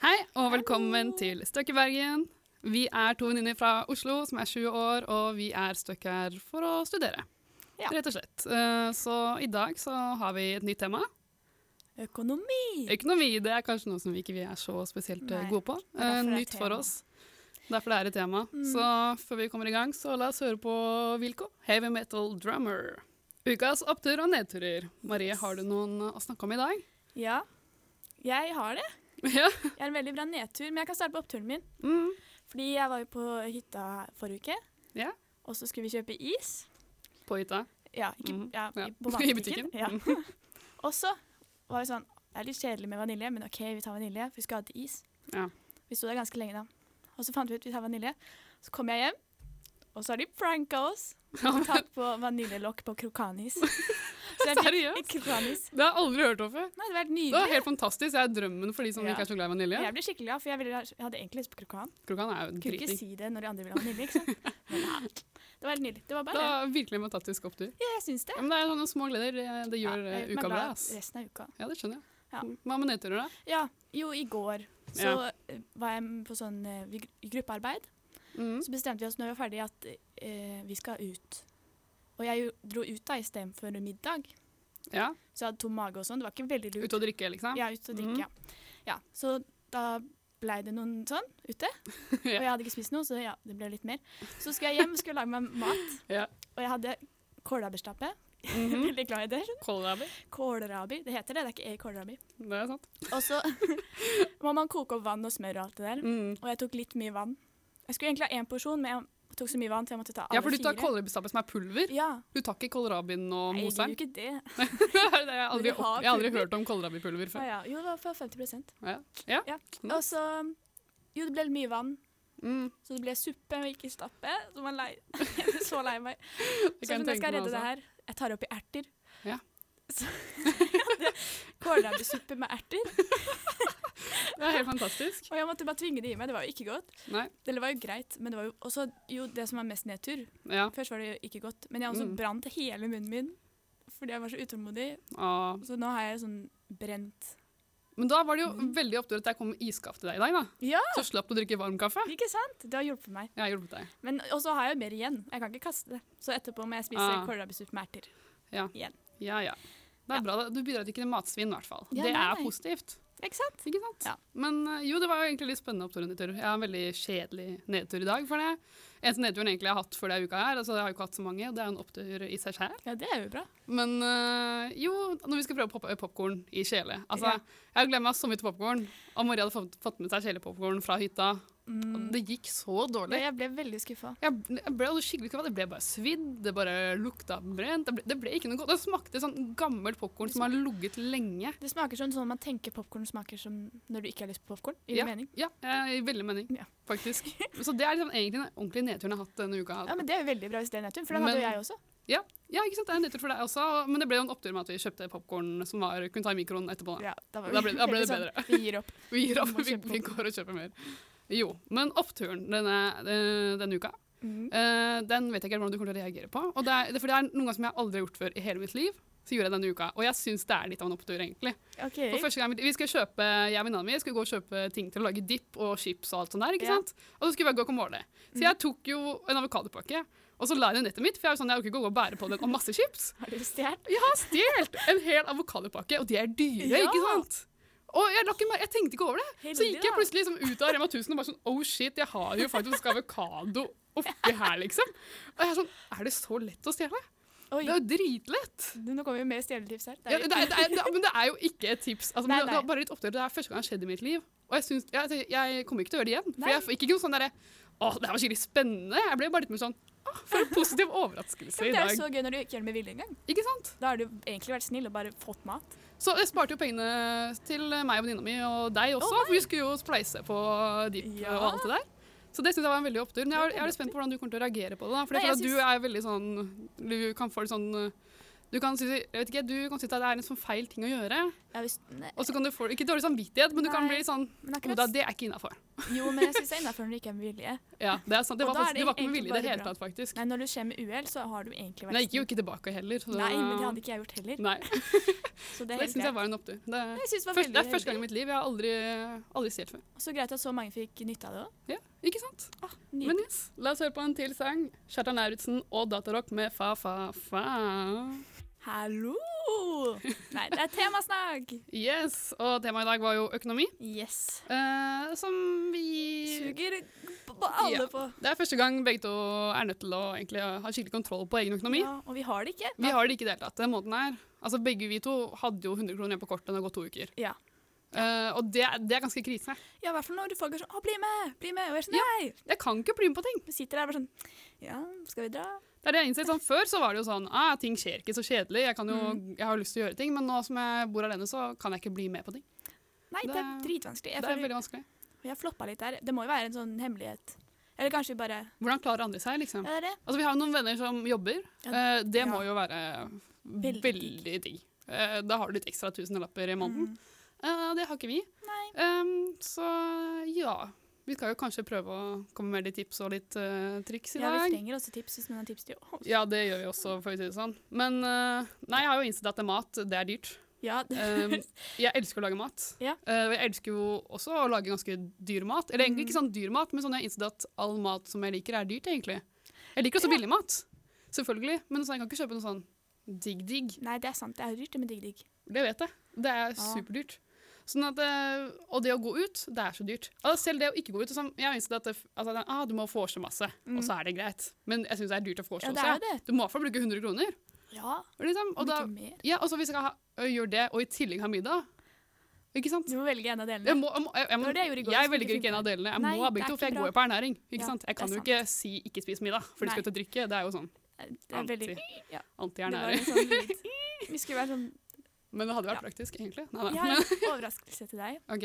og velkommen til Støkk i Bergen. Vi er to venninner fra Oslo som er 20 år, og vi er støkk her for å studere. Ja. Rett og slett. Eh, Så i dag så har vi et nytt tema. Økonomi. Økonomi det er kanskje noe som vi ikke vi er så spesielt eh, Nei, gode på. er derfor Eh, det er Nytt for tema. Mm. oss. Derfor det er et tema. Så før vi kommer i gang, så la oss høre på Wilco, Heavy Metal Drummer. Ukas opptur og nedturer. Marie, har du noen å snakke om i dag? Ja, jeg har det. ja. Jeg har en veldig bra nedtur, men jeg kan starte på oppturen min. Mm. Fordi jeg var jo på hytta forrige uke, ja. og så skulle vi kjøpe is. På hytta. Ja, ikke, Mhm. ja, Ja. i- på I matbutikken. butikken. Mhm. Mm. Ja. og så var det sånn, det er litt kjedelig med vanilje, men ok, vi tar vanilje, for vi skal ha til is. Ja. Vi stod der ganske lenge da. Og så fant vi ut, vi tar vanilje. Så kom jeg hjem, og så har de pranket oss. Og tatt på vaniljelokk på krokanis. Så jeg fikk Seriøst? krokanis. Det har jeg aldri hørt om før. Nei, det var Det helt var nydelig. helt fantastisk. Det er drømmen for de som Ja. ikke er så glad i vanilje. Jeg ble skikkelig glad, for jeg, ville, ha- jeg hadde egentlig lyst på krokan. Krokan er jo Kunne ikke dritdigg. si det når de andre ville ha vanilje, ikke sant? Men ja, det var helt nydelig. Det var Det bare det. er virkelig en fantastisk opptur. Ja, jeg syns det. Ja, men det er sånne små gleder. eh, Det Ja, gjør eh, jeg gjør meg uka bra. glad ass. Resten av uka. Ja, det skjønner jeg. Mm. Ja. Hva med nedturer, da? Ja, jo, i går så eh, var jeg på sånn eh, vi- gruppearbeid. Mm. Så bestemte vi oss når vi var ferdige at eh, vi skal ut. Og jeg jo dro ut da istedenfor middag. Ja. Så jeg hadde tom mage og sånn. Det var ikke veldig lurt. Ute og drikke, liksom? Ja, ut og drikke, ja. ja. Så da blei det noen sånn ute. Og jeg hadde ikke spist noe, så ja, det ble litt mer. Så skulle jeg hjem og skulle lage meg mat. Ja. Og jeg hadde kålrabistappe. Mhm. Veldig glad i det. Kålrabi. Kålrabi, det heter det. Det er ikke e- kålrabi. Det er sant. Og så må man koke opp vann og smør og alt det der. Mm. Og jeg tok litt mye vann. Jeg skulle egentlig ha én porsjon, men jeg tok så mye vann til jeg måtte ta alle Ja, for du tar fire. kålrabistappe som er pulver? Ja, Du tar ikke kålrabien og Nei, jeg gjør moseren? jo ikke det. Det er det jeg har aldri, Men vi har opp- jeg har aldri pulver. hørt om kålrabipulver Ah, før. ja. Jo, det var for 50 Ja. Ja. Mm. Og så Jo, det ble litt mye vann. Mm. Så det ble suppe og ikke stappe. Så man lei, så lei meg. Det Så kan jeg jeg tenke skal meg redde det også. her. Jeg tar oppi erter. Ja. Så jeg hadde kålrabistuppe med erter. Det er helt fantastisk. Og jeg måtte bare tvinge det i meg. Det var jo ikke godt. Nei. Eller det var jo greit, men det var jo også jo, det som var mest nedtur. Ja. Først var det jo ikke godt, men jeg også Mm. brant hele munnen min. Fordi jeg var så utålmodig. Ah. Så nå har jeg sånn brent Men da var det jo veldig opptur at jeg kom med iskaffe til deg i dag, da. Mm. Ja! Så slapp du å drikke varm kaffe. Ikke sant? Det har hjulpet meg. Jeg har hjulpet deg. Men også har jeg jo mer igjen. Jeg kan ikke kaste det. Så etterpå må jeg spise Ah. kålrabistuppe med erter. Ja, ja. Det er Ja. bra. da. Du bidrar ikke til matsvinn, i hvert fall. Ja, det nei, er nei. positivt. Ikke sant? Ikke sant? Ja. Men eh, jo, det var jo egentlig litt spennende opptur og nedtur. Jeg har en veldig kjedelig nedtur i dag. For det eneste nedturen egentlig jeg har hatt før denne uka her, altså jeg har jo ikke hatt så mange, og det er jo en opptur i seg selv. Ja, det er jo bra. Men eh, jo, når vi skal prøve pop popkorn i kjele Altså, Ja. jeg har glemt meg så mye til popkorn. Og Marie hadde fått- fått med seg kjelepopkorn fra hytta. Og Mm. det gikk så dårlig. Jeg ble veldig skuffa. Jeg, jeg ble jo skikkelig skuffa. Det ble bare svidd, det bare lukta brent. Det ble, det ble ikke noe godt. Det smakte sånn gammel popkorn som har ligget lenge. Det smaker sånn som man tenker popkorn smaker som når du ikke har lyst på popkorn. Gir det mening? Ja, eh, i veldig mening, Ja. faktisk. Så det er liksom egentlig den ordentlige nedturen jeg har hatt denne uka. Ja, men Det er jo veldig bra hvis det er nedtur, for den hadde Men- jo jeg også. Ja, ikke sant? Det er en nedtur for deg også, men det ble jo en opptur med at vi kjøpte popkorn som var, kunne ta i mikroen etterpå. Da. Ja, da, Da ble- da ble det tenkte sånn, Vi gir opp. Vi gir opp, Vi må vi, kjøpe vi popcorn. går og kjøper mer. Jo, men oppturen denne, eh, denne uka, Mm. eh, den vet jeg ikke hvordan du kommer til å reagere på. Og det er, det- for det er noen ganger som jeg aldri har gjort før i hele mitt liv, så gjorde jeg denne uka. Og jeg syns det er litt av en opptur, egentlig. OK. For første gang, vi skal kjøpe, Jeg og venninna mi skulle gå og kjøpe ting til å lage dipp og chips og alt sånt der. ikke Ja. Mhm. sant? Og så skulle vi ha guacamole. Så jeg tok jo en avokadopakke. Og så la jeg den i nettet mitt, for jeg var sånn, jeg orker ikke å gå og bære på den og masse chips. Har du stjålet? Jeg har stjålet en hel avokadopakke, og de er dyre, Ja. ikke sant? Og jeg, la ikke mer, jeg tenkte ikke over det. Så Heldig, gikk jeg da. plutselig liksom ut av Rema 1000 og bare sånn Oh shit, jeg har jo faktisk avokado oppi her, liksom. Og jeg er sånn Er det så lett å stjele? Oi, Det er jo dritlett. du, nå kommer vi med stjeletips her. Det Ja, er det er, det er, det er, men det er jo ikke et tips. Altså, men Nei, det- Det nei. var bare litt opptur. Det er første gang det har skjedd i mitt liv. Og jeg, syns, jeg, jeg- jeg kommer ikke til å gjøre det igjen. For Nei. jeg fikk ikke noe sånn derre Å, det her var skikkelig spennende. Jeg ble bare litt mer sånn «Å, For en positiv overraskelse i det er dag. jo så gøy når du ikke gjør det med vilje engang. Ikke sant? Da har du egentlig vært snill og bare fått mat. Så jeg sparte jo pengene til meg og venninna mi og deg også. for vi skulle jo spleise på Deep Ja. og alt det der. Så det syns jeg var en veldig opptur. Men jeg, Det var er- jeg er litt veldig spent på hvordan du kommer til å reagere på det. da. For Nei, jeg føler at jeg du er veldig sånn Du kan få litt sånn Du kan synes, jeg vet ikke, du kan synes at det er en sånn feil ting å gjøre, Ja, hvis, nei, og så kan du få ikke dårlig samvittighet, men du kan Nei. bli sånn men akkurat, Oda, det er ikke innafor. jo, men jeg syns det er innafor når det ikke er med vilje. Ja, det er sant. Det Og var, faktisk, da er det det var ikke med egentlig vilje i det bare hele bra. tatt, faktisk. Nei, når det skjer med uhell, så har du egentlig vært Men jeg gikk jo ikke tilbake heller. så det- Nei, men det hadde ikke jeg gjort heller. Nei, Så det er det helt syns jeg greit. var en opptur. Det er, Jeg synes det var først, det er veldig første gang i heldig. mitt liv. Jeg har aldri, aldri stjålet før. Så greit at så mange fikk nytte av det òg. Ja, ikke sant? Men Nydelig. yes, la oss høre på en til sang. Kjartan Lauritzen og Datarock med Fa Fa Fa. Hallo! Nei, det er temasnakk! Yes, og temaet i dag var jo økonomi, Yes. eh, som vi Suger på alle Ja. på. Det er første gang begge to er nødt til å egentlig ha skikkelig kontroll på egen økonomi. Ja, og vi har det ikke. Vi har det ikke i det hele tatt. Den måten her. Altså, begge vi to hadde jo 100 kroner igjen på kortet når det har gått to uker. Ja. Eh, og det, er- det er ganske krise. Ja, i hvert fall når folk er sånn 'Å, bli med! Bli med!' Og jeg er sånn 'Nei!' Jeg kan ikke bli med på ting. Vi sitter der bare sånn 'Ja, skal vi dra?' Det er det jeg innser. Sånn, før så var det jo sånn ah, ting skjer ikke så kjedelig, jeg, kan jo, Mm. jeg har lyst til å gjøre ting, men nå som jeg bor alene, så kan jeg ikke bli med på ting. Nei, det, er Det- dritvanskelig. Jeg, det er føler, veldig vanskelig. jeg har floppa litt der. Det må jo være en sånn hemmelighet. Eller kanskje vi bare Hvordan klarer andre seg, liksom? Ja, det er det. Altså, vi har jo noen venner som jobber. Ja, Eh, det må ja. jo være Veldig veldig, digg. Eh, da har du litt ekstra tusenlapper i måneden. Mm. Eh, det har ikke vi. Nei. Em, så ja. Vi skal jo kanskje prøve å komme med litt tips og litt eh, triks i Ja, vi dag. trenger også tips hvis noen har tips til oss. Ja, det gjør vi også, for å si det sånn. Men eh, nei, jeg har jo innsett at mat, det er dyrt. Ja, det, Um, jeg elsker å lage mat. Ja. Eh, og jeg elsker jo også å lage ganske dyr mat. Eller egentlig ikke Mm. sånn dyr mat, men sånn jeg har innsett at all mat som jeg liker, er dyrt, egentlig. Jeg liker også billig mat, selvfølgelig, men sånn, jeg kan ikke kjøpe noe sånn digg-digg. nei, det er sant. Det er dyrt, det med digg-digg. Det vet jeg. Det er Ja. superdyrt. Sånn at, eh, og det å gå ut, det er så dyrt. Altså, selv det å ikke gå ut sånn, Jeg har innsett at det, altså, det er, ah, du må vorse masse, og så er det greit. Men jeg syns det er dyrt å vorse Mm. Ja, det er også. jo det. Du må i hvert fall bruke 100 kroner. Ja, Liksom. om Og, da, ikke mer. ja, og så hvis jeg ha, gjør det, og i tillegg har middag Ikke sant? Du må velge en av Jeg, delene. må, jeg, må, jeg, jeg, Det var det jeg gjorde i går, jeg skulle velger ikke finne en av delene. Jeg Nei, må ha det begge er to, for jeg ikke går jo på ernæring. Ikke Ja, sant? Jeg det er kan jo sant. ikke si 'ikke spis middag', for de Nei. skal ut og drikke. Det er jo sånn Det er veldig Det var en anti-ernæring. sånn lyd. Vi skulle være sånn Men det hadde vært Ja. praktisk, egentlig. Nei, Jeg nei. har Men, en overraskelse til deg. ok.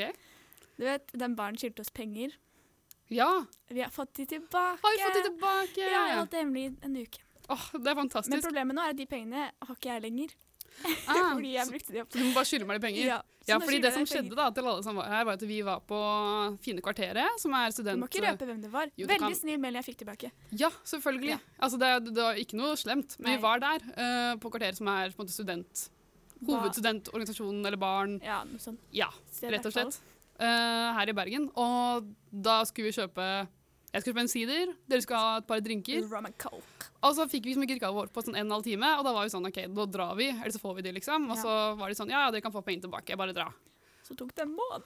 Du vet, Den baren skyldte oss penger. Ja, Vi har fått de tilbake. har vi fått det tilbake! Ja, jeg har hatt det hemmelig i en uke. Åh, det er Men fantastisk. problemet nå er at de pengene har ikke jeg lenger. Ah, Fordi jeg brukte de opp. så du må bare skylde meg litt penger. Ja, så nå fordi skylder det jeg som deg penger. skjedde da, til alle som var her, var at vi var på Fine kvarteret, som er Du student... må ikke røpe hvem det var. Jo, det Veldig kan- snill melding jeg fikk tilbake. Ja, selvfølgelig. Ja. Altså, det, er- det var ikke noe slemt. Men Nei. vi var der, eh, på kvarteret som er på en måte student... Hva- Hovedstudentorganisasjonen eller barn. Ja, noe sånt. Ja, Så det er rett og i hvert slett. Eh, her i Bergen. Og da skulle vi kjøpe Jeg skulle kjøpe en sider, dere skulle ha et par drinker. fall Rum and coke. Og så fikk vi liksom ikke drikka vår på sånn en og en halv time, og da var vi sånn OK, da drar vi, eller så får vi de, liksom. Og Ja. så var de sånn ja, ja, dere kan få pengene tilbake, bare dra. Så tok det en måned.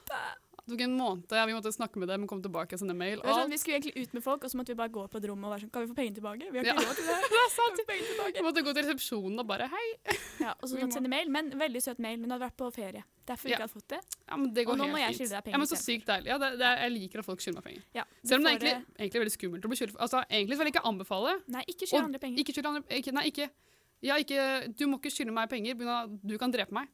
Det tok en måned, vi måtte snakke med dem, komme tilbake og sende mail. Det var Og sånn, vi skulle egentlig ut med folk, og så måtte vi bare gå på et rom og være sånn Kan vi få pengene tilbake? Vi har ikke Ja. råd til det. det er sant. Pengene vi tilbake. måtte gå til resepsjonen og bare hei. Ja, og så Vi måtte må- sende mail, men veldig søt mail. Hun hadde vært på ferie. Derfor vi Ja. ikke hadde fått det. Ja, men det går Og nå helt må jeg fint. skylde deg penger Ja, men så selv. sykt deilig. Ja, det, det, er- jeg liker at folk skylder meg penger. Ja, Selv om det får er egentlig, egentlig er veldig skummelt å bli skyldt for. Altså, egentlig så vil jeg ikke anbefale. Nei, ikke skyld Og andre penger. Ikke skyld andre ikke, Nei, ikke. Ja, ikke Du må ikke skylde meg penger, på grunn av at du kan drepe meg.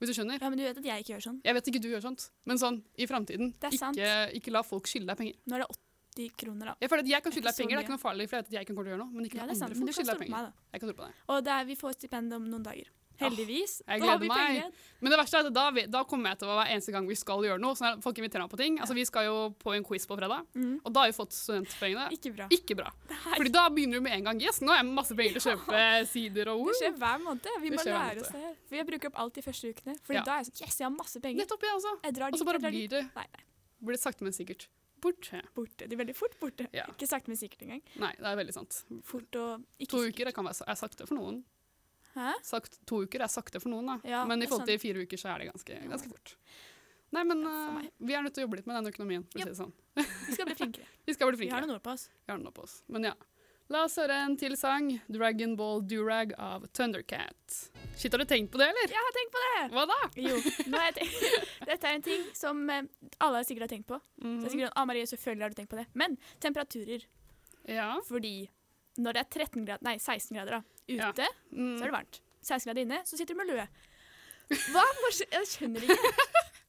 Hvis du skjønner? Ja, men du vet at jeg ikke gjør sånn. Jeg vet ikke du gjør sånt, men sånn i framtiden. Det er sant. Ikke, ikke la folk skylde deg penger. Nå er det 80 kroner, da. Jeg føler at jeg kan skylde deg Ikke så penger, det er mye. ikke noe farlig, for jeg vet at jeg ikke kommer til å gjøre noe. Men ikke Ja, ja, det er sant, andre men du folk kan skylder stole deg på penger. meg, da. Jeg kan tro på det. Og det er, vi får stipend om noen dager. Heldigvis. jeg Da har vi gleder meg. penger. Men det verste er at da, vet- da kommer jeg til å hver eneste gang vi skal gjøre noe. Sånn er det, folk inviterer meg på ting. Altså, vi skal jo på en quiz på fredag, Mm. og da har vi fått studentpengene. Ikke bra. Ikke bra. Fordi da begynner du med en gang. Yes, nå har jeg masse penger til å kjøpe sider og Det ord. skjer hver måned. Vi Det må skjer hver lære måned. oss det her. For jeg bruker opp alt de første ukene. Fordi Ja. da er jeg sånn Yes, jeg har masse penger. Nettopp, ja, altså. Jeg drar Og dit, så bare jeg drar blir dit. det, Nei, nei. blir det sakte, men sikkert borte. Borte. De er veldig fort borte. Ja. Ikke sakte, men sikkert engang. Nei, det er veldig sant. Fort og ikke To sikkert. uker det kan være, sa- er sakte for noen. Hæ? Sakt, to uker er sakte for noen, da. Ja, men i det er forhold til fire uker så er det ganske, ganske fort. Nei, men Ja, for eh, meg. vi er nødt til å jobbe litt med den økonomien. for Ja. å si det sånn. Vi skal bli flinkere. Vi skal bli Vi har flinkere. noen ord på oss. Vi har den oppe oss. Men ja. La oss høre en til sang. 'Dragon Ball Durag' av Thundercat. Shit, har du tenkt på det, eller? Jeg har tenkt på det! Hva da? Jo, nå har jeg tenkt. Dette er en ting som eh, alle sikkert har tenkt på. Så Mhm. det er sikkert, ah, Marie, selvfølgelig har du tenkt på det. Men temperaturer. Ja. Fordi når det er 13 grader, nei, 16 grader da, Ja. ute, så er Mm. det varmt. 16 grader inne, så sitter du med lue. Hva? Hvor- Jeg skjønner ikke.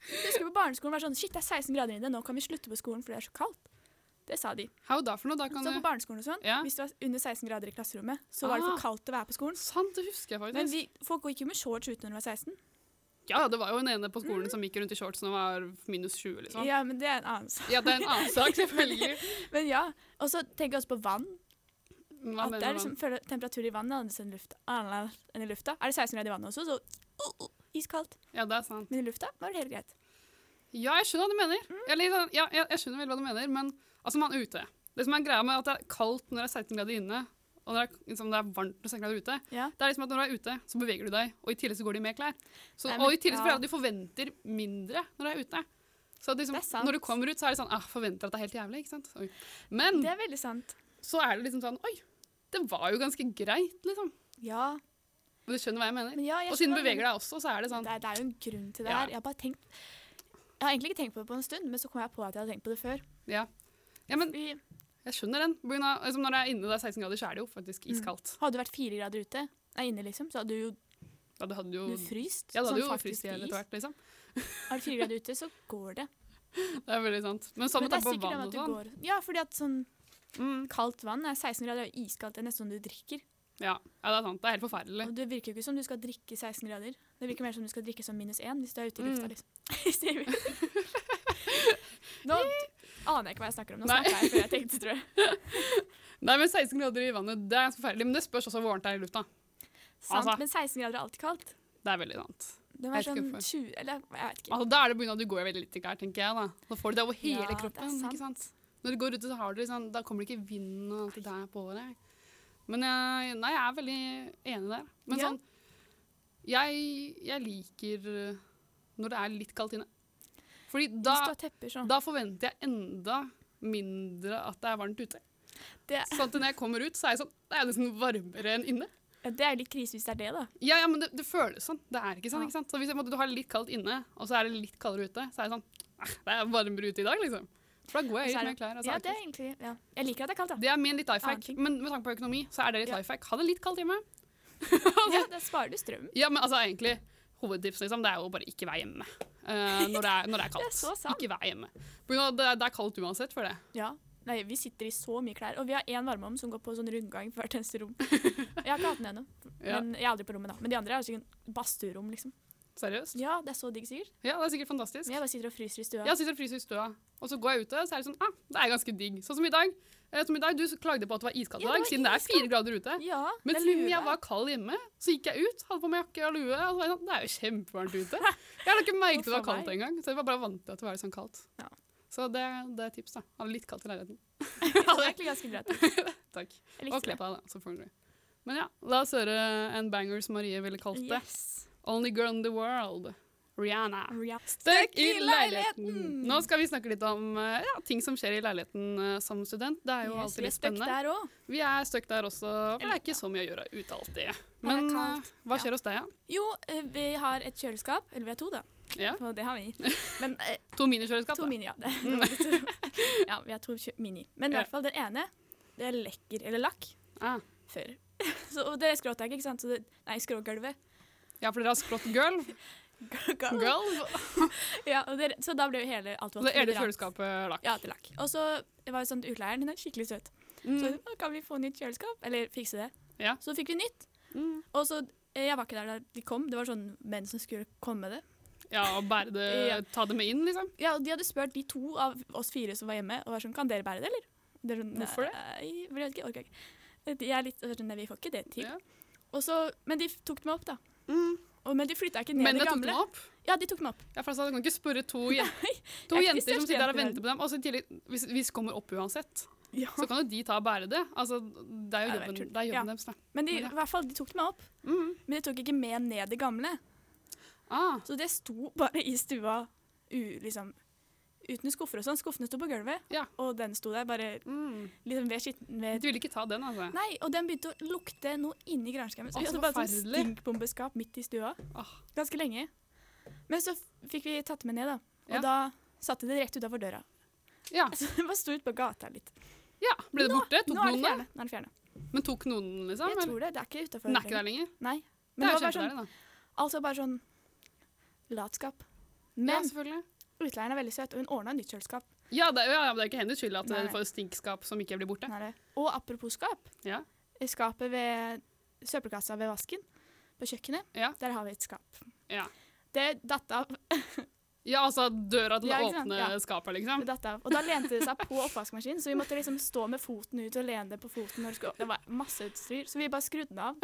Jeg husker på barneskolen var det sånn, shit, det er 16 grader inne, nå kan vi slutte på skolen, for det er så kaldt. Det sa de. Hva da for noe? Da kan Så på du barneskolen og sånn, Ja. hvis det var under 16 grader i klasserommet, så var det Ah. for kaldt å være på skolen. Sant, det husker jeg Men faktisk. vi, folk gikk jo med shorts uten når de var 16. Ja, det var jo en ene på skolen som gikk rundt i shorts når det var minus 20, liksom. Ja. Ja, men det er en annen sak. det er en annen sak, selvfølgelig. Men ja, Og så tenker jeg også på vann. Hva at det mener er du? liksom, føler, Temperaturen i vannet er annerledes enn, i lufta, annerledes enn i lufta. Er det 16 grader i vannet også, så oh, oh, iskaldt. Ja, det er sant. Men i lufta var det helt greit. Ja, jeg skjønner hva du mener. Mm. Eller, sånn, ja, jeg, jeg skjønner veldig hva du mener, men altså, man er ute. Det som er greia med at det er kaldt når det er 16 grader inne, og når det er, liksom, det er varmt når det er 16 grader ute, Ja. det er liksom at når du er ute, så beveger du deg, og i tillegg så går de med klær. Så, Nei, men- og i tillegg så føler ja. jeg at du forventer mindre når du er ute. Så at liksom, Det er sant. når du kommer ut, så er det sånn, ah, forventer at det er helt jævlig, ikke sant? Oi. Men Det er veldig sant. så er det liksom sånn, oi, det var jo ganske greit, liksom. Ja. Og du skjønner hva jeg mener. Men ja, jeg Og siden skjønner du hva du beveger deg også, så er det sånn, Det er, det er jo en grunn til det Ja. her. Jeg har bare tenkt Jeg har egentlig ikke tenkt på det på en stund, men så kom jeg på at jeg hadde tenkt på det før. ja. Ja, men Vi jeg skjønner den. På grunn av- Liksom, når det er inne og det er 16 grader, så er det jo faktisk Mm. iskaldt. hadde du vært fire grader ute, nei, inne liksom, så hadde du jo Ja, det hadde jo, du fryst. Mm. ja, det hadde sånn jo faktisk fryst i hjel is. etter hvert, liksom. Er du fire grader ute, så går det. Det er veldig sant. Men sånn Men med det er tanke på sikkert det vann og med at du sånn. går Ja, fordi at sånn Mm. kaldt vann er 16 grader, og iskaldt er nesten som du drikker. Ja. ja, det er sant. Det er helt forferdelig. Og det virker jo ikke som du skal drikke 16 grader. Det virker mer som du skal drikke som minus én hvis du er ute i lufta, Mm. liksom. Sier vi. Nå aner jeg ikke hva jeg snakker om. Nå Nei. snakka jeg før jeg tenkte, tror jeg. Nei, men 16 grader i vannet, det er ganske forferdelig. Men det spørs også hvor varmt det er i lufta. Sant, Altså. men 16 grader er alltid kaldt. Det er veldig sant. Det var Jeg vet ikke sånn hvorfor. 20 Eller jeg vet ikke. Altså, da er det på grunn av at du går veldig litt i klær, tenker jeg. da. Da får du det over hele Ja, det er kroppen. sant. ikke sant? Når du går ute, så har du liksom, da kommer det ikke vind og alt det der på deg. Men jeg, nei, jeg er veldig enig der. Men Ja. sånn, jeg, jeg liker eh, når det er litt kaldt inne. Fordi da Hvis du har tepper, sånn. så. Da forventer jeg enda mindre at det er varmt ute. Det, Sånn at når jeg kommer ut, så er jeg sånn Det er nesten varmere enn inne. ja, det er jo litt krise hvis det er det, da. Ja, ja, men det, det føles sånn. Det er ikke sånn. Ja. ikke sant? Så Hvis jeg, på en måte, du har det litt kaldt inne, og så er det litt kaldere ute, så er det sånn «Ah, Det er varmere ute i dag, liksom. For da går jeg Og så i er litt mer klær. Altså, Ja, det aktivt. er egentlig ja. Jeg liker at det er kaldt, da. det er min litt life Annen hack. ting. Men med tanke på økonomi, så er det litt Ja. life hack. Ha det litt kaldt hjemme. Ja, da sparer du strøm. Ja, men altså egentlig Hovedtips liksom, det er jo bare ikke vær hjemme eh, når, det er, når det er kaldt. så sant. Ikke vær hjemme. På grunn av at Det, det er kaldt uansett, føler jeg. Ja. Nei, vi sitter i så mye klær. Og vi har én varmeovn som går på sånn rundgang på hvert eneste rom. Jeg har ikke hatt den ennå. Ja. Men jeg er aldri på rommet, da. Men de andre er jo sikkert badstuerom, liksom. Seriøst. Ja, det er så digg, sikkert. Ja, det er sikkert fantastisk. Men jeg bare sitter og fryser i stua. Jeg sitter og fryser i stua, og så går jeg ute, og så er det sånn ah, det er ganske digg. Sånn som i dag. Eh, Som i dag, Du klagde på at det var iskaldt i Ja, det dag, var siden det er fire grader ute. Ja, Men det er siden lue. jeg var kald hjemme, så gikk jeg ut, hadde på meg jakke og lue. og så var jeg sånn, Det er jo kjempevarmt ute. Jeg hadde ikke merket at det var Hvorfor kaldt meg? engang. Så jeg var bare vant til at det var litt sånn kaldt. Ja. Så det, det er tips, da. Ha det litt kaldt i leiligheten. Det var egentlig ganske bra. takk. Takk. Jeg Og likte kle det. på deg, da. Selvfølgelig. Men ja, la oss høre en banger som Marie ville kalt det. Yes. Only girl in the world. Rihanna. Ja. Støkk i leiligheten! Nå skal vi snakke litt om eh, ja, ting som skjer i leiligheten eh, som student. Det er jo Yes, alltid vi er litt stuck spennende. der òg. Vi er stuck der også, for det Eller, er ikke så mye å gjøre ute alltid. Nei, Men det er eh, kaldt. hva skjer hos deg, Jo, eh, vi har et kjøleskap. Eller vi har to, da. ja? ja? For det har vi. Men eh, To minikjøleskap? To da. mini, ja. Det. det var litt- ja, vi har to kjø- mini. Men i Ja. hvert fall den ene, det er lekker, eller lakk, Ah. før. Så, og det er skråtaket, ikke sant? Så det, nei, skrågulvet. Ja, for dere har skrått gulv. Gulv. gulv. Ja, og det, så da ble jo hele alt Og det ene videre. kjøleskapet lakk. Ja, til lakk. Og så var jo sånn utleieren, hun er skikkelig søt. Så Mm. «Å, kan vi få nytt kjøleskap? Eller fikse det. Ja. Så fikk vi nytt. Mm. Og så, eh, jeg var ikke der da de kom, det var sånn menn som skulle komme med det. Ja, og bære det, Ja. ta det med inn, liksom. Ja, og de hadde spurt de to av oss fire som var hjemme, og var sånn, kan dere bære det, eller? Det er sånn, Hvorfor det? Nei, jeg vet ikke, orker jeg ikke. De er litt sånn, nei, vi får ikke det til. Ja. Og så, men de tok dem opp, da. Og, men de flytta ikke ned Men Mm. det jeg tok gamle. den opp. Ja, de tok dem opp. Ja, for altså, Du kan ikke spørre to, jen to jeg er jenter ikke som største sitter der og jente i venter på dem. Og så i tillegg, hvis, hvis kommer opp uansett, Ja. så kan jo de ta og bære det. Altså, Det er jo Ja, det er jobben, tull. det er Ja. jobben deres. da. Men de, Men ja. i hvert fall, de tok dem opp. Mm. Men de tok ikke med ned det gamle. Ah, Så det sto bare i stua u, liksom, uten skuffer og sånn. Skuffene sto på gulvet, Ja. og den sto der bare mm. liksom ved skitten Du ved ville ikke ta den, altså? Nei, og den begynte å lukte noe inni granskammen. Så vi Å, så hadde bare sånn forferdelig. stinkbombeskap midt i stua. Åh, Ganske lenge. Men så f- fikk vi tatt med ned, da. Og Ja. da satte de det rett utafor døra. Ja. Så det bare sto ute på gata litt. ja. Ble det Nå- borte? Tok Nå er det noen det? fjerne. Nå er det fjerne. Men tok noen den, liksom? Jeg eller? tror det. Det er ikke utafor. Den er ikke der lenger? Nei. Det Men er det jo var bare sånn, kjempedeilig, da. altså bare sånn latskap. Ja, Men selvfølgelig. Utleieren er veldig søt, og hun ordna nytt kjøleskap. Ja, det, ja, ja, men det er ikke hennes skyld at Nei. du får stinkskap som ikke blir borte. Nei, Sånn det- Og apropos skap. Ja. i Skapet ved søppelkassa ved vasken på kjøkkenet, Ja. der har vi et skap. Ja. Det datt av. Ja, altså døra til det Ja, ikke sant? åpne Ja. skapet, liksom. Det datt av. Og da lente det seg på oppvaskmaskinen, så vi måtte liksom stå med foten ut og lene det på foten. Når det, skulle. det var masse utstyr, så vi bare skrudde den av.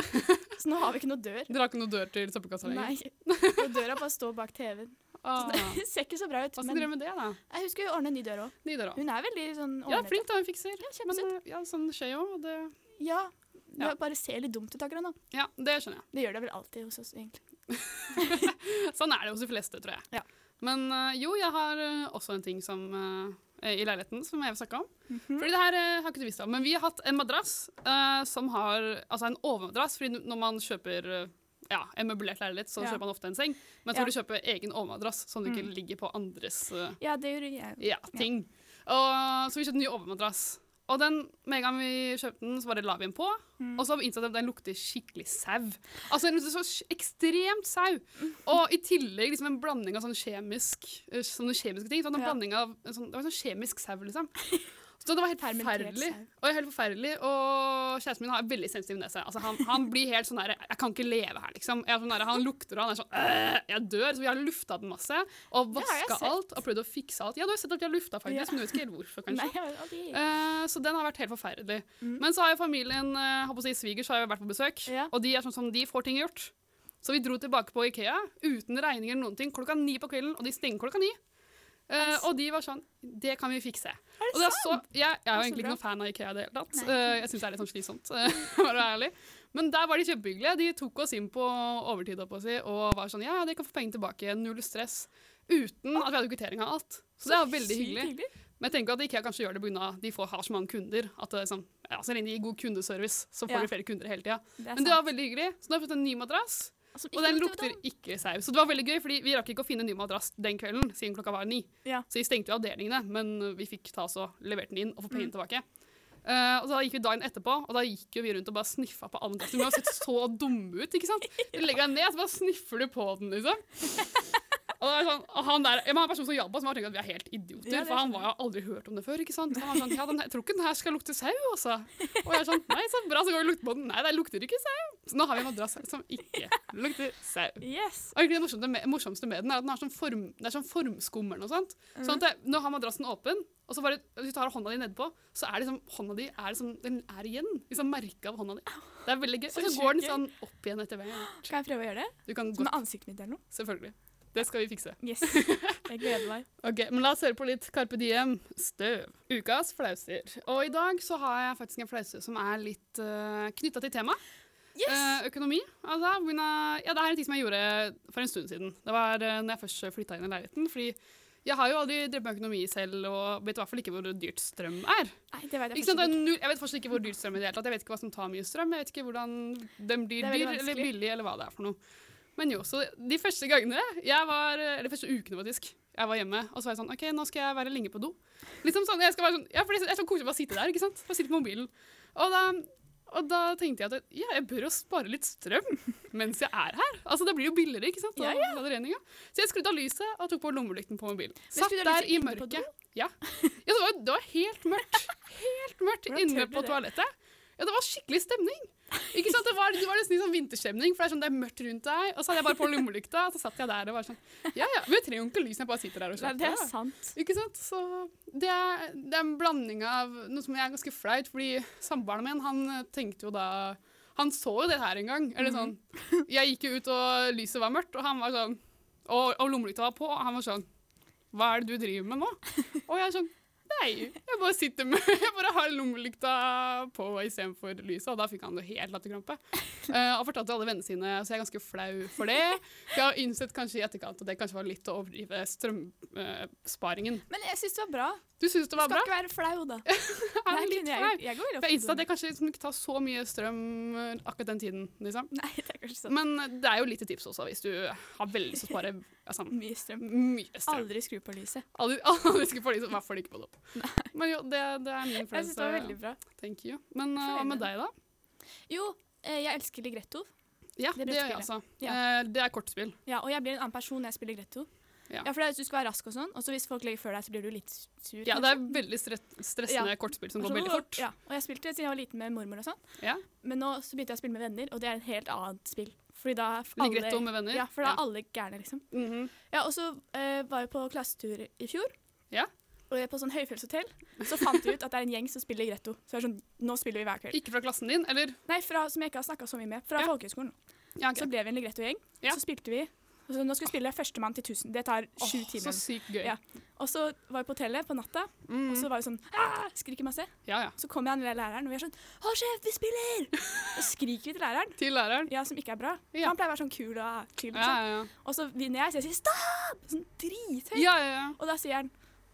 Så nå har vi ikke noe dør. Dere har ikke noe dør til søppelkassa lenger? Nei. Og døra bare står bak TV-en. Så Ah. det ser ikke så bra ut. Hva skal Men dere med det, da? jeg husker hun ordnet ny dør òg. Ny døra. Hun er veldig sånn Ja, ordnet. flink da, hun fikser. Ja, Men kjempesøt. eh, ja, sånn skjer jo. og Det, Ja. Det Ja. bare ser litt dumt ut akkurat nå. ja, det skjønner jeg. Det gjør det vel alltid hos oss, egentlig. Sånn er det hos de fleste, tror jeg. Ja. Men eh, jo, jeg har eh, også en ting som, eh, i leiligheten som jeg vil snakke om. Mhm. Fordi det her eh, har ikke du visst om, men vi har hatt en madrass eh, som har Altså en overmadrass, fordi n- når man kjøper eh, ja, en møblert leilighet, så Ja. kjøper man ofte en seng. Men jeg Ja. tror du kjøper egen overmadrass, sånn du ikke Mm. ligger på andres eh, Ja, det gjorde jeg. ja, ting. Og, så vi kjøpte en ny overmadrass. Og den, med en gang vi kjøpte den, så bare la vi den på. Mm. Og så har vi innsett at den lukter skikkelig sau. Altså den lukter så sj- ekstremt sau. Og i tillegg liksom en blanding av sånn kjemisk, eh, sånne kjemiske ting. Sånn en Ja. blanding av en sånn, Det var sånn kjemisk sau, liksom. Så det var helt Fermentert forferdelig. sau. Og helt forferdelig. Og kjæresten min har veldig sensitiv nese. Altså, han, han blir helt sånn der, Jeg kan ikke leve her, liksom. Jeg er sånn der, han lukter, og han er sånn øh, Jeg dør. Så vi har lufta den masse. Og Det har jeg vaska sett. alt. Og prøvd å fikse alt. Ja, du har sett at vi har lufta, faktisk. Ja. Men du vet ikke helt hvorfor, kanskje. Nei, jeg vet aldri. Eh, så den har vært helt forferdelig. Mm. Men så har jo familien eh, holdt på å si, svigers har jo vært på besøk, Ja. og de er sånn som de får ting gjort. Så vi dro tilbake på Ikea uten regninger eller noen ting klokka ni på kvelden, og de stenger klokka ni. Eh, og de var sånn Det kan vi fikse. Er Og det det er så, jeg, jeg er jo så egentlig bra. ikke noen fan av Ikea i det hele tatt. Nei. Eh, jeg syns det er litt sånn slitsomt. eh, for å være ærlig. Men der var de kjempehyggelige. De tok oss inn på overtid holdt på å si, og var sånn Ja, ja, dere kan få penger tilbake. Null stress. Uten at vi hadde kvittering av alt. Så det var veldig Sykt hyggelig. Men jeg tenker at IKEA kanskje gjør det pga. at de får, har så mange kunder. At det er sånn, ja, Så lenge de gir god kundeservice, så får Ja. de flere kunder hele tida. Det er Men det sant. var veldig hyggelig. Så nå har jeg fått en ny madrass, Altså, og ikke den noe lukter til dem. ikke sau. Så det var veldig gøy, fordi vi rakk ikke å finne en ny madrass den kvelden, siden klokka var ni. Ja. Så vi stengte jo avdelingene, men vi fikk ta oss og levert den inn og få pengene Mm. tilbake. Eh, og så da gikk vi dagen etterpå, og da gikk jo vi rundt og bare sniffa på alle madrasser. Vi har sett så dumme ut, ikke sant? Du legger deg ned, så bare sniffer du på den, liksom. Og det er sånn, og han der, ja, men han personen som hjalp oss, må ha tenkt at vi er helt idioter, Ja, det for han skjønner var jo aldri hørt om det før, ikke sant? Så han var sånn, ja, den, her- jeg tror ikke den her skal lukte sau, altså. Og jeg er sånn, nei, så bra, så går vi og lukter på den. Nei, det lukter ikke sau. Så nå har vi en madrass som ikke lukter sau. Yes. Og egentlig det morsomste med, morsomste med den er at den har sånn form, det er sånn formskummer eller noe sånt. Sånn at det, nå har madrassen åpen, og så bare, hvis du tar hånda di nedpå, så er liksom hånda di er liksom, den er igjen. Liksom merket av hånda di. Det er veldig gøy. Så Og så går den sjukt sånn opp igjen etter hvert. Kan jeg prøve å gjøre det? Du kan Med godt, ansiktet mitt eller noe? selvfølgelig. Det skal vi fikse. Yes. Jeg gleder meg. Ok, men La oss høre på litt Carpe Diem, støv. Ukas flauser. Og i dag så har jeg faktisk en flause som er litt uh, knytta til temaet. Eh, økonomi. Altså, men, eh, ja, det er en ting som jeg gjorde for en stund siden. Det var uh, når jeg først flytta inn i leiligheten. Fordi jeg har jo aldri drevet med økonomi selv, og vet i hvert fall ikke hvor dyrt strøm er. Nei, det vet jeg Ikke sant? fortsatt Det ikke. er null, jeg vet fortsatt ikke hvor dyrt strøm er i det hele tatt. Jeg vet ikke hva som tar mye strøm. Jeg vet ikke hvordan den Det blir er veldig dyr eller vanskelig. billig, eller hva det er for noe. Men jo, så de første gangene jeg var Eller de første ukene, faktisk. Jeg var hjemme, og så var jeg sånn OK, nå skal jeg være lenge på do. Liksom sånn, jeg skal være sånn, ja, for Det er så koselig å bare sitte der, ikke sant? Bare sitte på mobilen. Og da, og da tenkte jeg at ja, jeg bør jo spare litt strøm mens jeg er her. Altså, Det blir jo billigere, ikke sant? Ja, av radioregninga. Så jeg skrudde av lyset og tok på lommelykten på mobilen. Satt skrudde du der lyset i inne på mørket. Ja. ja, det var, det var helt mørkt. Helt mørkt Hvordan inne tør du på det? toalettet. Ja, det var skikkelig stemning. Ikke sant? Det var, det var nesten litt sånn vinterstemning, for det er sånn det er mørkt rundt deg. Og så hadde jeg bare på lommelykta, og så satt jeg der og var sånn Ja, ja, vi trenger jo ikke lys når jeg bare sitter der og Nei, slapper det av. er sant. Ikke sant? Så det er, det er en blanding av noe som er ganske flaut, fordi samboeren min, han eh, tenkte jo da Han så jo det her en gang. Eller sånn Jeg gikk jo ut, og lyset var mørkt, og han var sånn Og, og lommelykta var på, og han var sånn Hva er det du driver med nå? Og jeg er sånn Nei, jeg bare sitter med Jeg bare har lommelykta på istedenfor lyset, og da fikk han jo helt latterkrampe. Eh, og fortalte alle vennene sine, så jeg er ganske flau for det. For jeg har innsett kanskje i etterkant at det kanskje var litt å overdrive strømsparingen. Men jeg syns det var bra. Du syns det Du var skal bra? ikke være flau, da. Jeg Nei, er litt kunne flau. Jeg, jeg går veldig For Jeg innså ofte at det kanskje liksom ikke tar så mye strøm eh, akkurat den tiden. liksom. Nei, det er kanskje sant. Men det er jo litt tips også, hvis du har veldig lyst til å spare altså, Mye strøm. mye strøm. Aldri skru på lyset. Aldri, aldri skulle få liksom, lyst til å få det ikke på dopp. Men jo, det, det er min Jeg syns det følelse. var veldig bra. Thank you. Men eh, hva med deg, da? Jo, eh, jeg elsker Ligretto. Ja, Det det, er gjør jeg brettspillet. altså. Ja. Eh, Det er kortspill. Ja, og jeg blir en annen person når jeg spiller Ligretto. Ja. Ja, for det er at du skal være rask og sånn, og så hvis folk legger før deg, så blir du litt sur. Ja, kanskje. det er veldig stre- stressende Ja. kortspill som Og går så- veldig fort. Ja, og jeg spilte siden jeg var liten med mormor og sånn, Ja. men nå så begynte jeg å spille med venner, og det er et helt annet spill. Fordi da er alle, Ligger rett om med venner. Ja, for da er alle gærne, liksom. Mhm. Ja, og så eh, var jeg på klassetur i fjor. Ja. Og jeg er på sånn høyfjellshotell. Så fant vi ut at det er en gjeng som spiller Gretto. Så jeg er sånn, nå spiller vi hver kveld. Ikke fra klassen din, eller? Nei, fra, som jeg ikke har snakka så mye med. Fra Ja. folkehøyskolen. Ja, ok. Så ble vi en Ligretto-gjeng. Ja. Så spilte vi. Og så nå skal vi spille Førstemann til 1000. Det tar Åh, sju Så timer. sykt gøy. Ja. Og så var vi på hotellet på natta, Mm. og så var vi sånn «Ah!» Skriker masse. ja, ja. Så kommer han lille læreren, og vi er sånn Hold kjeft, vi spiller! Og skriker vi til læreren. Til læreren. Ja, som ikke er bra. Ja. Han pleier å være sånn kul og Ja, chill. Liksom. ja, ja. Og så vinner jeg, så jeg sier stopp! Sånn drithøyt. ja, ja, ja. Og da sier han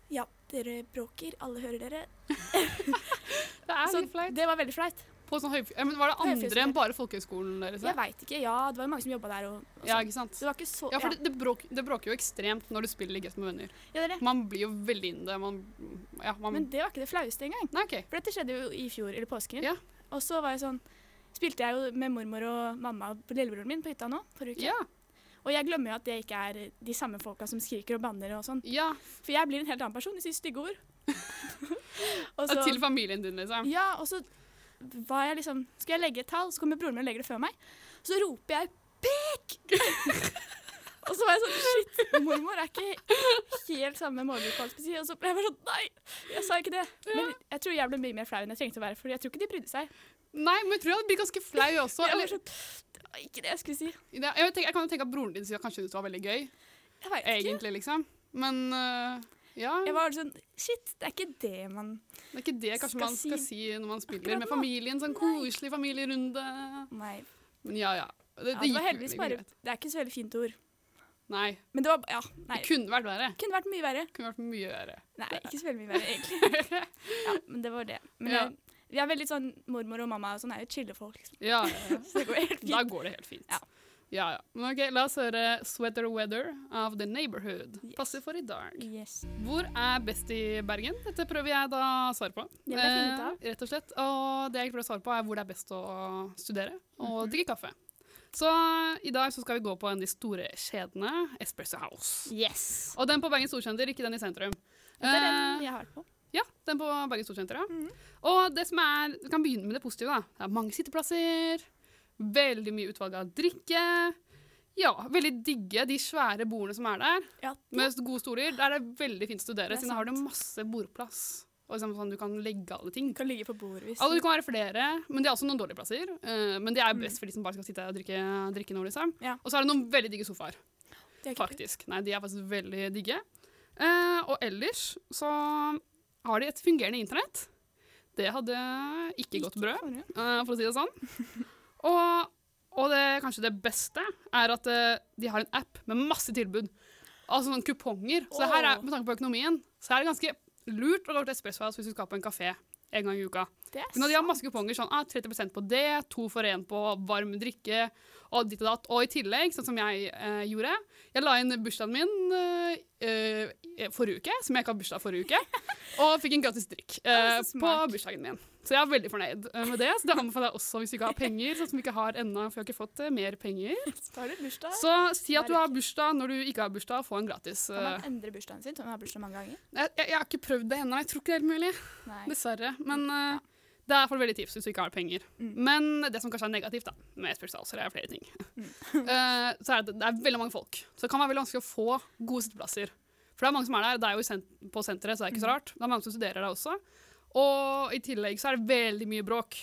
ja, dere bråker, alle hører dere. Det er Så litt flaut. det var veldig flaut. På sånn høyf- ja, men var det andre Høyfjellshotell. enn bare folkehøyskolen deres? Jeg veit ikke, ja, det var jo mange som jobba der og, og Ja, sånn. ikke sant? Så det var ikke så Ja, for det, det, bråk, det bråker jo ekstremt når du spiller greit med venner. ja, det er det. Man blir jo veldig inne i det. Man, ja, man, Men det var ikke det flaueste engang. nei, OK. For dette skjedde jo i fjor, eller påsken. Ja. Og så var jeg sånn Spilte jeg jo med mormor og mamma og lillebroren min på hytta nå forrige uke. Ja, Og jeg glemmer jo at det ikke er de samme folka som skriker og banner og sånn. ja. For jeg blir en helt annen person. Jeg sier stygge ord. og Og Til familien din, liksom. Ja, og så var jeg liksom Skal jeg legge et tall, så kommer broren min og legger det før meg. Så roper jeg 'pek'! og så var jeg sånn Shit, mormor er ikke helt samme målgruppe. alt på si. Og så ble jeg bare sånn Nei, jeg sa ikke det. Men jeg tror jeg ble mye mer flau enn jeg trengte å være, for jeg tror ikke de brydde seg. Nei, men jeg tror jeg hadde blitt ganske flau også. jeg, var Eller, sånn, det var ikke det jeg skulle si. det- jeg, tenker, jeg kan jo tenke at broren din sier at kanskje det var veldig gøy, Jeg vet ikke. egentlig, liksom. Men øh, ja, Jeg var sånn Shit, det er ikke det man det er ikke det kanskje skal man skal si- si når man spiller Akkurat med nå. familien. Sånn Nei. koselig familierunde. Nei. Men ja, ja. Det, Ja, det det var gikk heldigvis veldig bare greit. Det er ikke så veldig fint ord. Nei. Men det var Ja, nei. Det kunne vært verre. Det kunne vært mye verre. Det kunne vært mye verre. Nei, ikke så veldig mye verre, egentlig. Ja, men det var det. Men Ja. jeg, vi er veldig sånn Mormor og mamma og sånn er jo chille folk, liksom. Ja, ja, ja. Så det går helt Da fint. går det helt fint. Ja. Ja, ja. Men ok, La oss høre 'Sweater Weather' av The Neighborhood. Yes. Passer for i dag. Yes. Hvor er best i Bergen? Dette prøver jeg da å svare på. Det må jeg finne ut av. Eh, rett og slett. Og det jeg prøver å svare på, er hvor det er best å studere og Mhm. drikke kaffe. Så i dag så skal vi gå på en av de store kjedene, Espresso House. Yes. Og den på Bergen Storsenter, ikke den i sentrum. Det er Eh, den Mhm. jeg har vært på. ja, den på Bergen Storsenter, ja. Og det som er, vi kan begynne med det positive, da. Det er mange sitteplasser, veldig mye utvalg av drikke. Ja, veldig digge de svære bordene som er der. Ja. Med gode stoler. Der er det veldig fint å studere, Det er siden da har du sant. masse bordplass. Og liksom sånn, du kan legge alle ting. Du kan ligge på bordet hvis Altså, det kan være flere, men det er også noen dårlige plasser. eh, men det er best for de som bare skal sitte og drikke, drikke noe, liksom. Mm. Ja. Og så er det noen veldig digge sofaer. Det er ikke- Faktisk. Nei, de er faktisk veldig digge. Eh, og ellers så har de et fungerende internett. Det hadde ikke gått brød, forrige. eh, for å si det sånn. Og, og det, kanskje det beste er at eh, de har en app med masse tilbud. Altså sånne kuponger. Så det her er, Åh. med tanke på økonomien, så er det ganske lurt å gå til Espresso House hvis du skal på en kafé en gang i uka. Det er Men når de har masse kuponger sånn ah, 30 på det, to for én på varm drikke og ditt og datt. Og i tillegg, sånn som jeg eh, gjorde Jeg la inn bursdagen min eh, eh, forrige uke, som jeg ikke har bursdag forrige uke, og fikk en gratis drikk eh, Å, så på smart. bursdagen min. Så jeg er veldig fornøyd eh, med det. Så det anbefaler jeg også hvis du ikke har penger, sånn som vi ikke har ennå, for jeg har ikke fått eh, mer penger. sant. Da har du bursdag. Så si at du har bursdag når du ikke har bursdag, få en gratis. Kan man Eh, endre bursdagen sin? Kan man ha bursdag mange ganger? jeg, jeg, jeg har ikke prøvd det ennå, jeg tror ikke det er helt mulig. Nei. Dessverre. Men eh, det er i hvert fall veldig tips hvis du ikke har penger. Mm. Men det som kanskje er negativt da, med spesialsalg, er flere ting. Mm. Eh, så er det, det er veldig mange folk. Så det kan være veldig vanskelig å få gode sitteplasser. For det er mange som er der. Det er jo i sent på senteret, så det er ikke Mm. så rart. Det er mange som studerer der også. Og i tillegg så er det veldig mye bråk.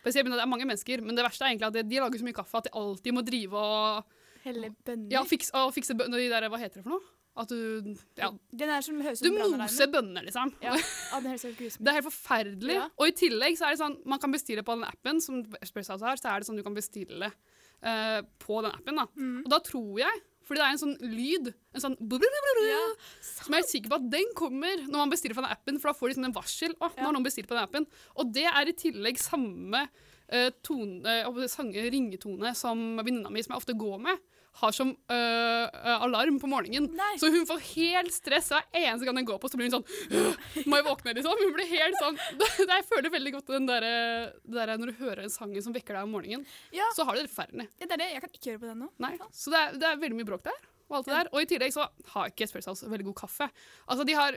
Spesielt når det er mange mennesker, men det verste er egentlig at de, de lager så mye kaffe at de alltid må drive og, Helle bønner. ja, fikse, og fikse bø- de der, Hva heter det for noe? At du ja, Den er som høres ut Du som brannalarmen. moser bønner, liksom. Ja. Ja, den høres helt grusom Det er helt forferdelig. Ja. Og i tillegg så er det sånn, man kan bestille på den appen, som Espresso House har, så er det sånn du kan bestille eh, på den appen. da. Mm. Og da tror jeg, fordi det er en sånn lyd, en sånn blubblubblubblub, Ja. som jeg er sikker på at den kommer når man bestiller på den appen, for da får de sånn en varsel. Å, nå Ja. har noen bestilt på den appen. Og det er i tillegg samme eh, tone, eh, og det sange, ringetone som venninna mi, som jeg ofte går med, har som eh, eh, alarm på morgenen. Nei. Så hun får helt stress hver eneste gang den går på, så blir hun sånn «Åh, Må jeg våkne, liksom? Hun blir helt sånn Det- Jeg føler veldig godt den der, det der når du hører den sangen som vekker deg om morgenen, Ja. så har du det forferdelig. ja, det er det. Jeg kan ikke høre på den nå. Nei. Så det er, det er veldig mye bråk der. og alt det der. Og i tillegg så har ikke Espresso House veldig god kaffe. Altså, de har,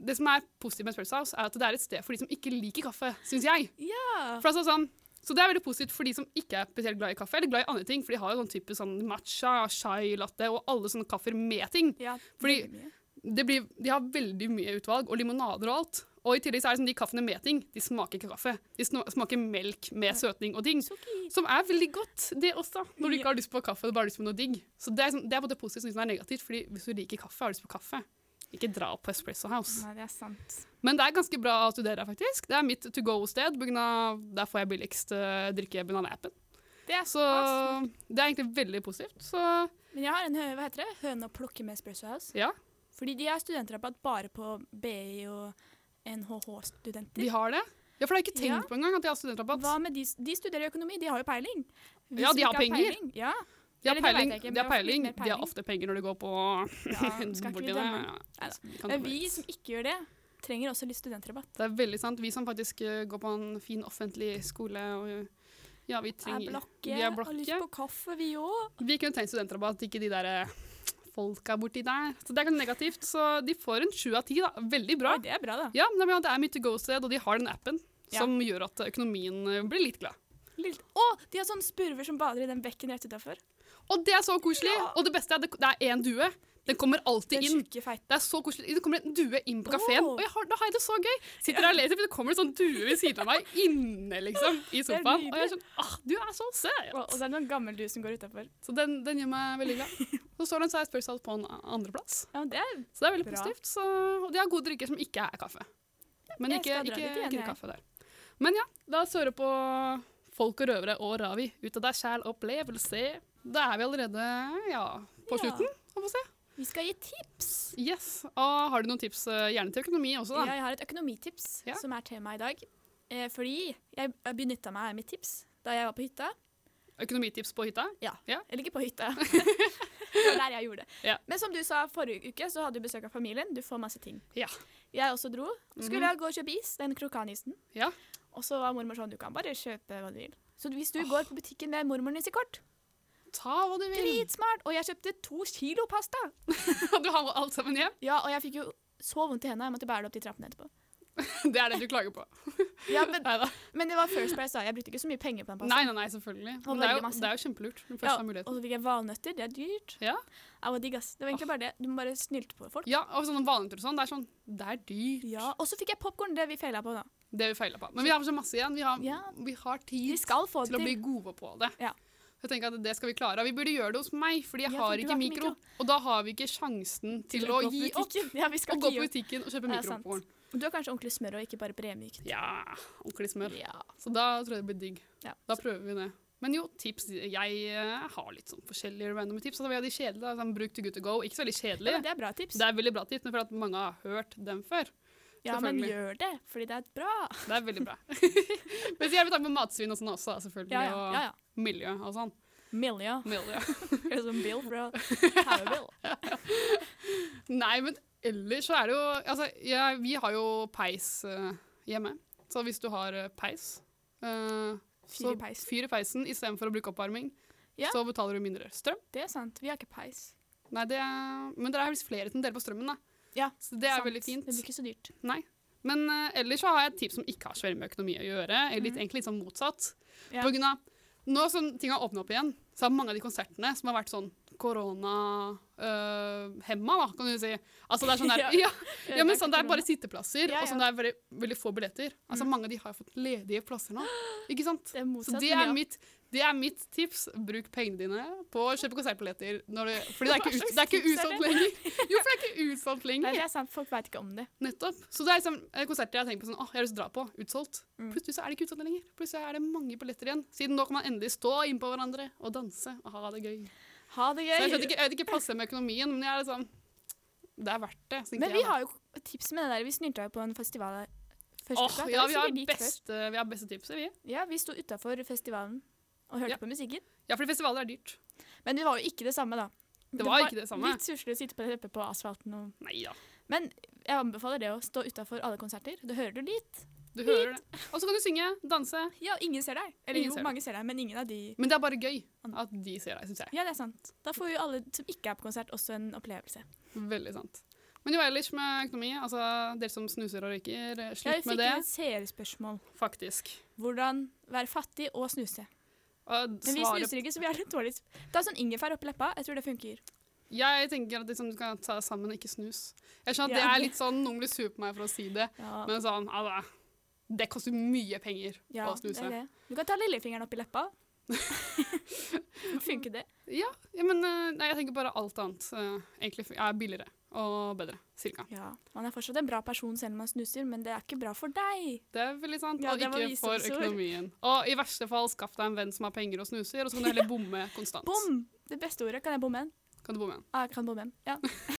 det som er positivt med Espresso House, er at det er et sted for de som ikke liker kaffe, syns jeg. Ja. For altså sånn, så det er veldig positivt for de som ikke er spesielt glad i kaffe, eller glad i andre ting, for de har jo sånn type sånn matcha, chai, latte og alle sånne kaffer med ting. ja Fordi- veldig mye. Det blir, de har veldig mye utvalg, og limonader og alt. Og i tillegg så er det sånn, de kaffene med ting, de smaker ikke kaffe. De sno- smaker melk med søtning og ting. Suki. Som er veldig godt, det også. Når du Ja. ikke har lyst på kaffe, du bare har lyst på noe digg. Så det er, sånn, det er både positivt og det som er negativt, fordi hvis du liker kaffe, har du lyst på kaffe. Ikke dra på Espresso House. Nei, det er sant. Men det er ganske bra å studere her, faktisk. Det er mitt to go-sted. på grunn av- Der får jeg billigst eh, drikke bananappen. Det er Så såpass. det er egentlig veldig positivt. Så Men jeg har en hø hva heter det? høne å plukke med Espresso House. Ja. Fordi de har studentrabatt bare på BI og NHH-studenter. vi har det. Ja, for jeg har ikke tenkt Ja. på engang at jeg har studentrabatt. Hva med de, de studerer økonomi, de har jo peiling. Vi Ja, de som har ikke penger. Peiling, ja, De har Eller det vet peiling, jeg ikke, men de har vi har litt peiling. mer De har peiling. ofte penger når det går på ja skal ikke vi dømme. Ja, kan Men komme vi dit. som ikke gjør det, trenger også litt studentrabatt. Det er veldig sant. Vi som faktisk eh, går på en fin offentlig skole og eh, ja, vi Er trenger blakke, vi er har lyst blakke. på kaffe, vi òg. Vi kunne tenkt studentrabatt, ikke de der eh, folka borti der. Så det er ikke negativt. Så de får en sju av ti, da. Veldig bra. Det er bra, da. Ja, nei, men ja, det er mye to go-sted, og de har den appen Ja. som gjør at eh, økonomien eh, blir litt glad. Litt. Å, de har sånne spurver som bader i den bekken rett utafor. Og det er så koselig! Ja. Og det beste er at det- det er én due. Den kommer alltid Den inn. tjukke, feite. Det er så koselig. Det kommer en due inn på kafeen, Åh. og jeg har, da har jeg det så gøy. Sitter der og leser, men det kommer en sånn due ved siden av meg inne liksom, i er sofaen. Og jeg er nydelig. sånn ah, du er så Og, og søt! det er noen gammel du som går utafor. Så den, den gjør meg veldig glad. Så står den seg spørsmål på en andreplass. Ja, men det er Så det er veldig Bra. positivt. Så, og de har gode drikker som ikke er kaffe. Men Jeg ikke, skal ikke, dra dit igjen, ikke jeg. kaffe der. Men ja, la oss høre på Folk og røvere og Ravi. Ut av deg sjæl, opplevelse. Da er vi allerede ja, på Ja. slutten. Får vi se. Vi skal gi tips. Yes. Og har du noen tips eh, gjerne til økonomi også, da? Ja, jeg har et økonomitips Ja. som er tema i dag. Eh, fordi jeg benytta meg av mitt tips da jeg var på hytta. Økonomitips på hytta? Eller ikke på hytta. det var der jeg gjorde det. Ja. Men som du sa forrige uke, så hadde du besøk av familien. Du får masse ting. Ja. Jeg også dro. Skulle Mhm. jeg gå og kjøpe is, den krokanisen. Ja. Og så var mormor sånn, du kan bare kjøpe hva du vil. Så hvis du går på butikken med mormoren sitt kort, Ta hva du vil. dritsmart! Og jeg kjøpte to kilo pasta. Du har alt sammen hjem. Ja, og jeg fikk jo så vondt i hendene. Jeg måtte bære det opp de trappene etterpå. Det er det du klager på. Ja, men, Neida. men det var First Price, da. Jeg brukte ikke så mye penger på den pastaen. Nei, nei, nei, selvfølgelig. Og Men det er veldig jo, masse. det er jo kjempelurt. når du Først Ja, har og muligheten. så fikk jeg valnøtter. Det er dyrt. Ja. Jeg var digg, ass. Det var egentlig bare det. Du må bare snylte på folk. Ja, og sånn vanlig og sånn, det er sånn, det er dyrt. Ja, Og så fikk jeg popkorn. Det vi feila på, da. Det har vi feila på. Men vi har så masse igjen. Vi har, Ja. vi har Vi tid skal få til å det bli til. gode på det. Ja. Jeg tenker at det skal vi klare. Vi burde gjøre det hos meg, fordi jeg Ja, for har du ikke har ikke mikro. Og da har vi ikke sjansen til å gå på gi opp butikken. Ja, vi skal og gå ikke på gi opp. butikken og kjøpe Det er sant. mikropopkorn. Du har kanskje ordentlig smør og ikke bare bremykt. Ja, ordentlig smør. Ja. Så da tror jeg det blir digg. Ja. Da prøver vi det. Men jo, tips. Jeg eh, har litt sånn forskjellige randome tips. Altså, vi har de kjedelige, da, sånn bruk to good to go. Ikke så veldig Ja, kjedelig. men det er bra tips. det er veldig bra tips, men for at mange har hørt dem før. ja, men selvfølgelig. gjør det, fordi det er bra. Det er veldig bra. men så gjør vi takk med matsvinn og sånn også, da, selvfølgelig. Ja, ja. ja, ja. Og miljø og sånn. Milja. Miljø. Eller som Bill fra Powerbill. Nei, men ellers så er det jo Altså, ja, vi har jo peis eh, hjemme. Så hvis du har eh, peis eh, Fyr i så peisen. Fyr i peisen istedenfor å bruke oppvarming. Ja. Så betaler du mindre strøm. Det er sant. Vi har ikke peis. Nei, det er, men det er visst flere som deler på strømmen, da. Ja, så det er Sant. veldig fint. Det blir ikke så dyrt. Nei. Men eh, ellers så har jeg et tips som ikke har så veldig med økonomi å gjøre. Eller litt, Mhm. egentlig litt sånn motsatt. Ja. På grunn av, nå som ting har åpnet opp igjen, så har mange av de konsertene som har vært sånn korona-hemma, da, kan du si. Altså det er sånn der, Ja. ja, ja, men sånn det er bare sitteplasser, Ja, og sånn det er veldig, veldig få billetter. Altså Mhm. mange av de har fått ledige plasser nå, ikke sant? Det er Så motsatt. det men er, ja. mitt, det er mitt tips. Bruk pengene dine på å kjøpe konsertbilletter. Når det, fordi det er Hva ikke, ut, slags det er ikke tips er utsolgt lenger. Jo, for det er ikke utsolgt Nei, lenger. det er sant. Folk veit ikke om det. Nettopp. Så det er liksom, eh, konserter jeg har tenkt på sånn, åh, jeg har lyst til å dra på. Utsolgt. Mm. Plutselig så er det ikke utsolgt lenger. Plutselig er det mange billetter igjen. Siden da kan man endelig stå innpå hverandre og danse og ha det gøy. Ha det Så jeg gøy. vet ikke, jeg vet ikke passer med økonomien, men jeg er liksom, det er verdt det. tenker Men jeg vi da. har jo tips med det der. Vi snylta jo på en festival her. Første Åh, uka. Det ja, var vi sikkert har, dit før. beste, vi har beste tipset, vi. Ja, vi sto utafor festivalen og hørte Ja. på musikken. Ja, fordi festivaler er dyrt. Men det var jo ikke det samme, da. Det var ikke det samme. Litt suslig å sitte på det teppet på asfalten og Neida. Men jeg anbefaler det å stå utafor alle konserter. Da hører du litt. Du Du hører det. Og så kan du synge, danse. Ja, ingen ser deg. Eller Ingen jo, ser deg. mange ser deg, men ingen av de Men det er bare gøy at de ser deg, syns jeg. Ja, det er sant. Da får jo alle som ikke er på konsert, også en opplevelse. Veldig sant. Men jo ellers med økonomi, altså dere som snuser og røyker, eh, Ja, vi slutt med fikk det. et seerspørsmål. Faktisk. Hvordan være fattig og snuse. Og Men vi svaret- snuser ikke, så vi har litt dårlig Ta sånn ingefær oppi leppa. Jeg tror det funker. Jeg tenker at liksom, du kan ta deg sammen, ikke snus. Jeg skjønner at Ja, det er det- litt sånn, Noen blir sur på meg for å si det, Ja, men sånn altså, Det koster mye penger ja, å det snuse. er det. Du kan ta lillefingeren oppi leppa. funker det? Ja, ja, men eh, nei, jeg tenker bare alt annet. eh, Egentlig er billigere og bedre. Cirka. Ja. Man er fortsatt en bra person selv om man snuser, men det er ikke bra for deg. Det er veldig sant. Ja, og det var ikke for visdomsord. økonomien. Og i verste fall, skaff deg en venn som har penger og snuser, og så kan du heller bomme konstant. Bom! Det beste ordet. Kan jeg bomme en? Kan du bomme igjen? Ah, jeg kan bomme en. Ja.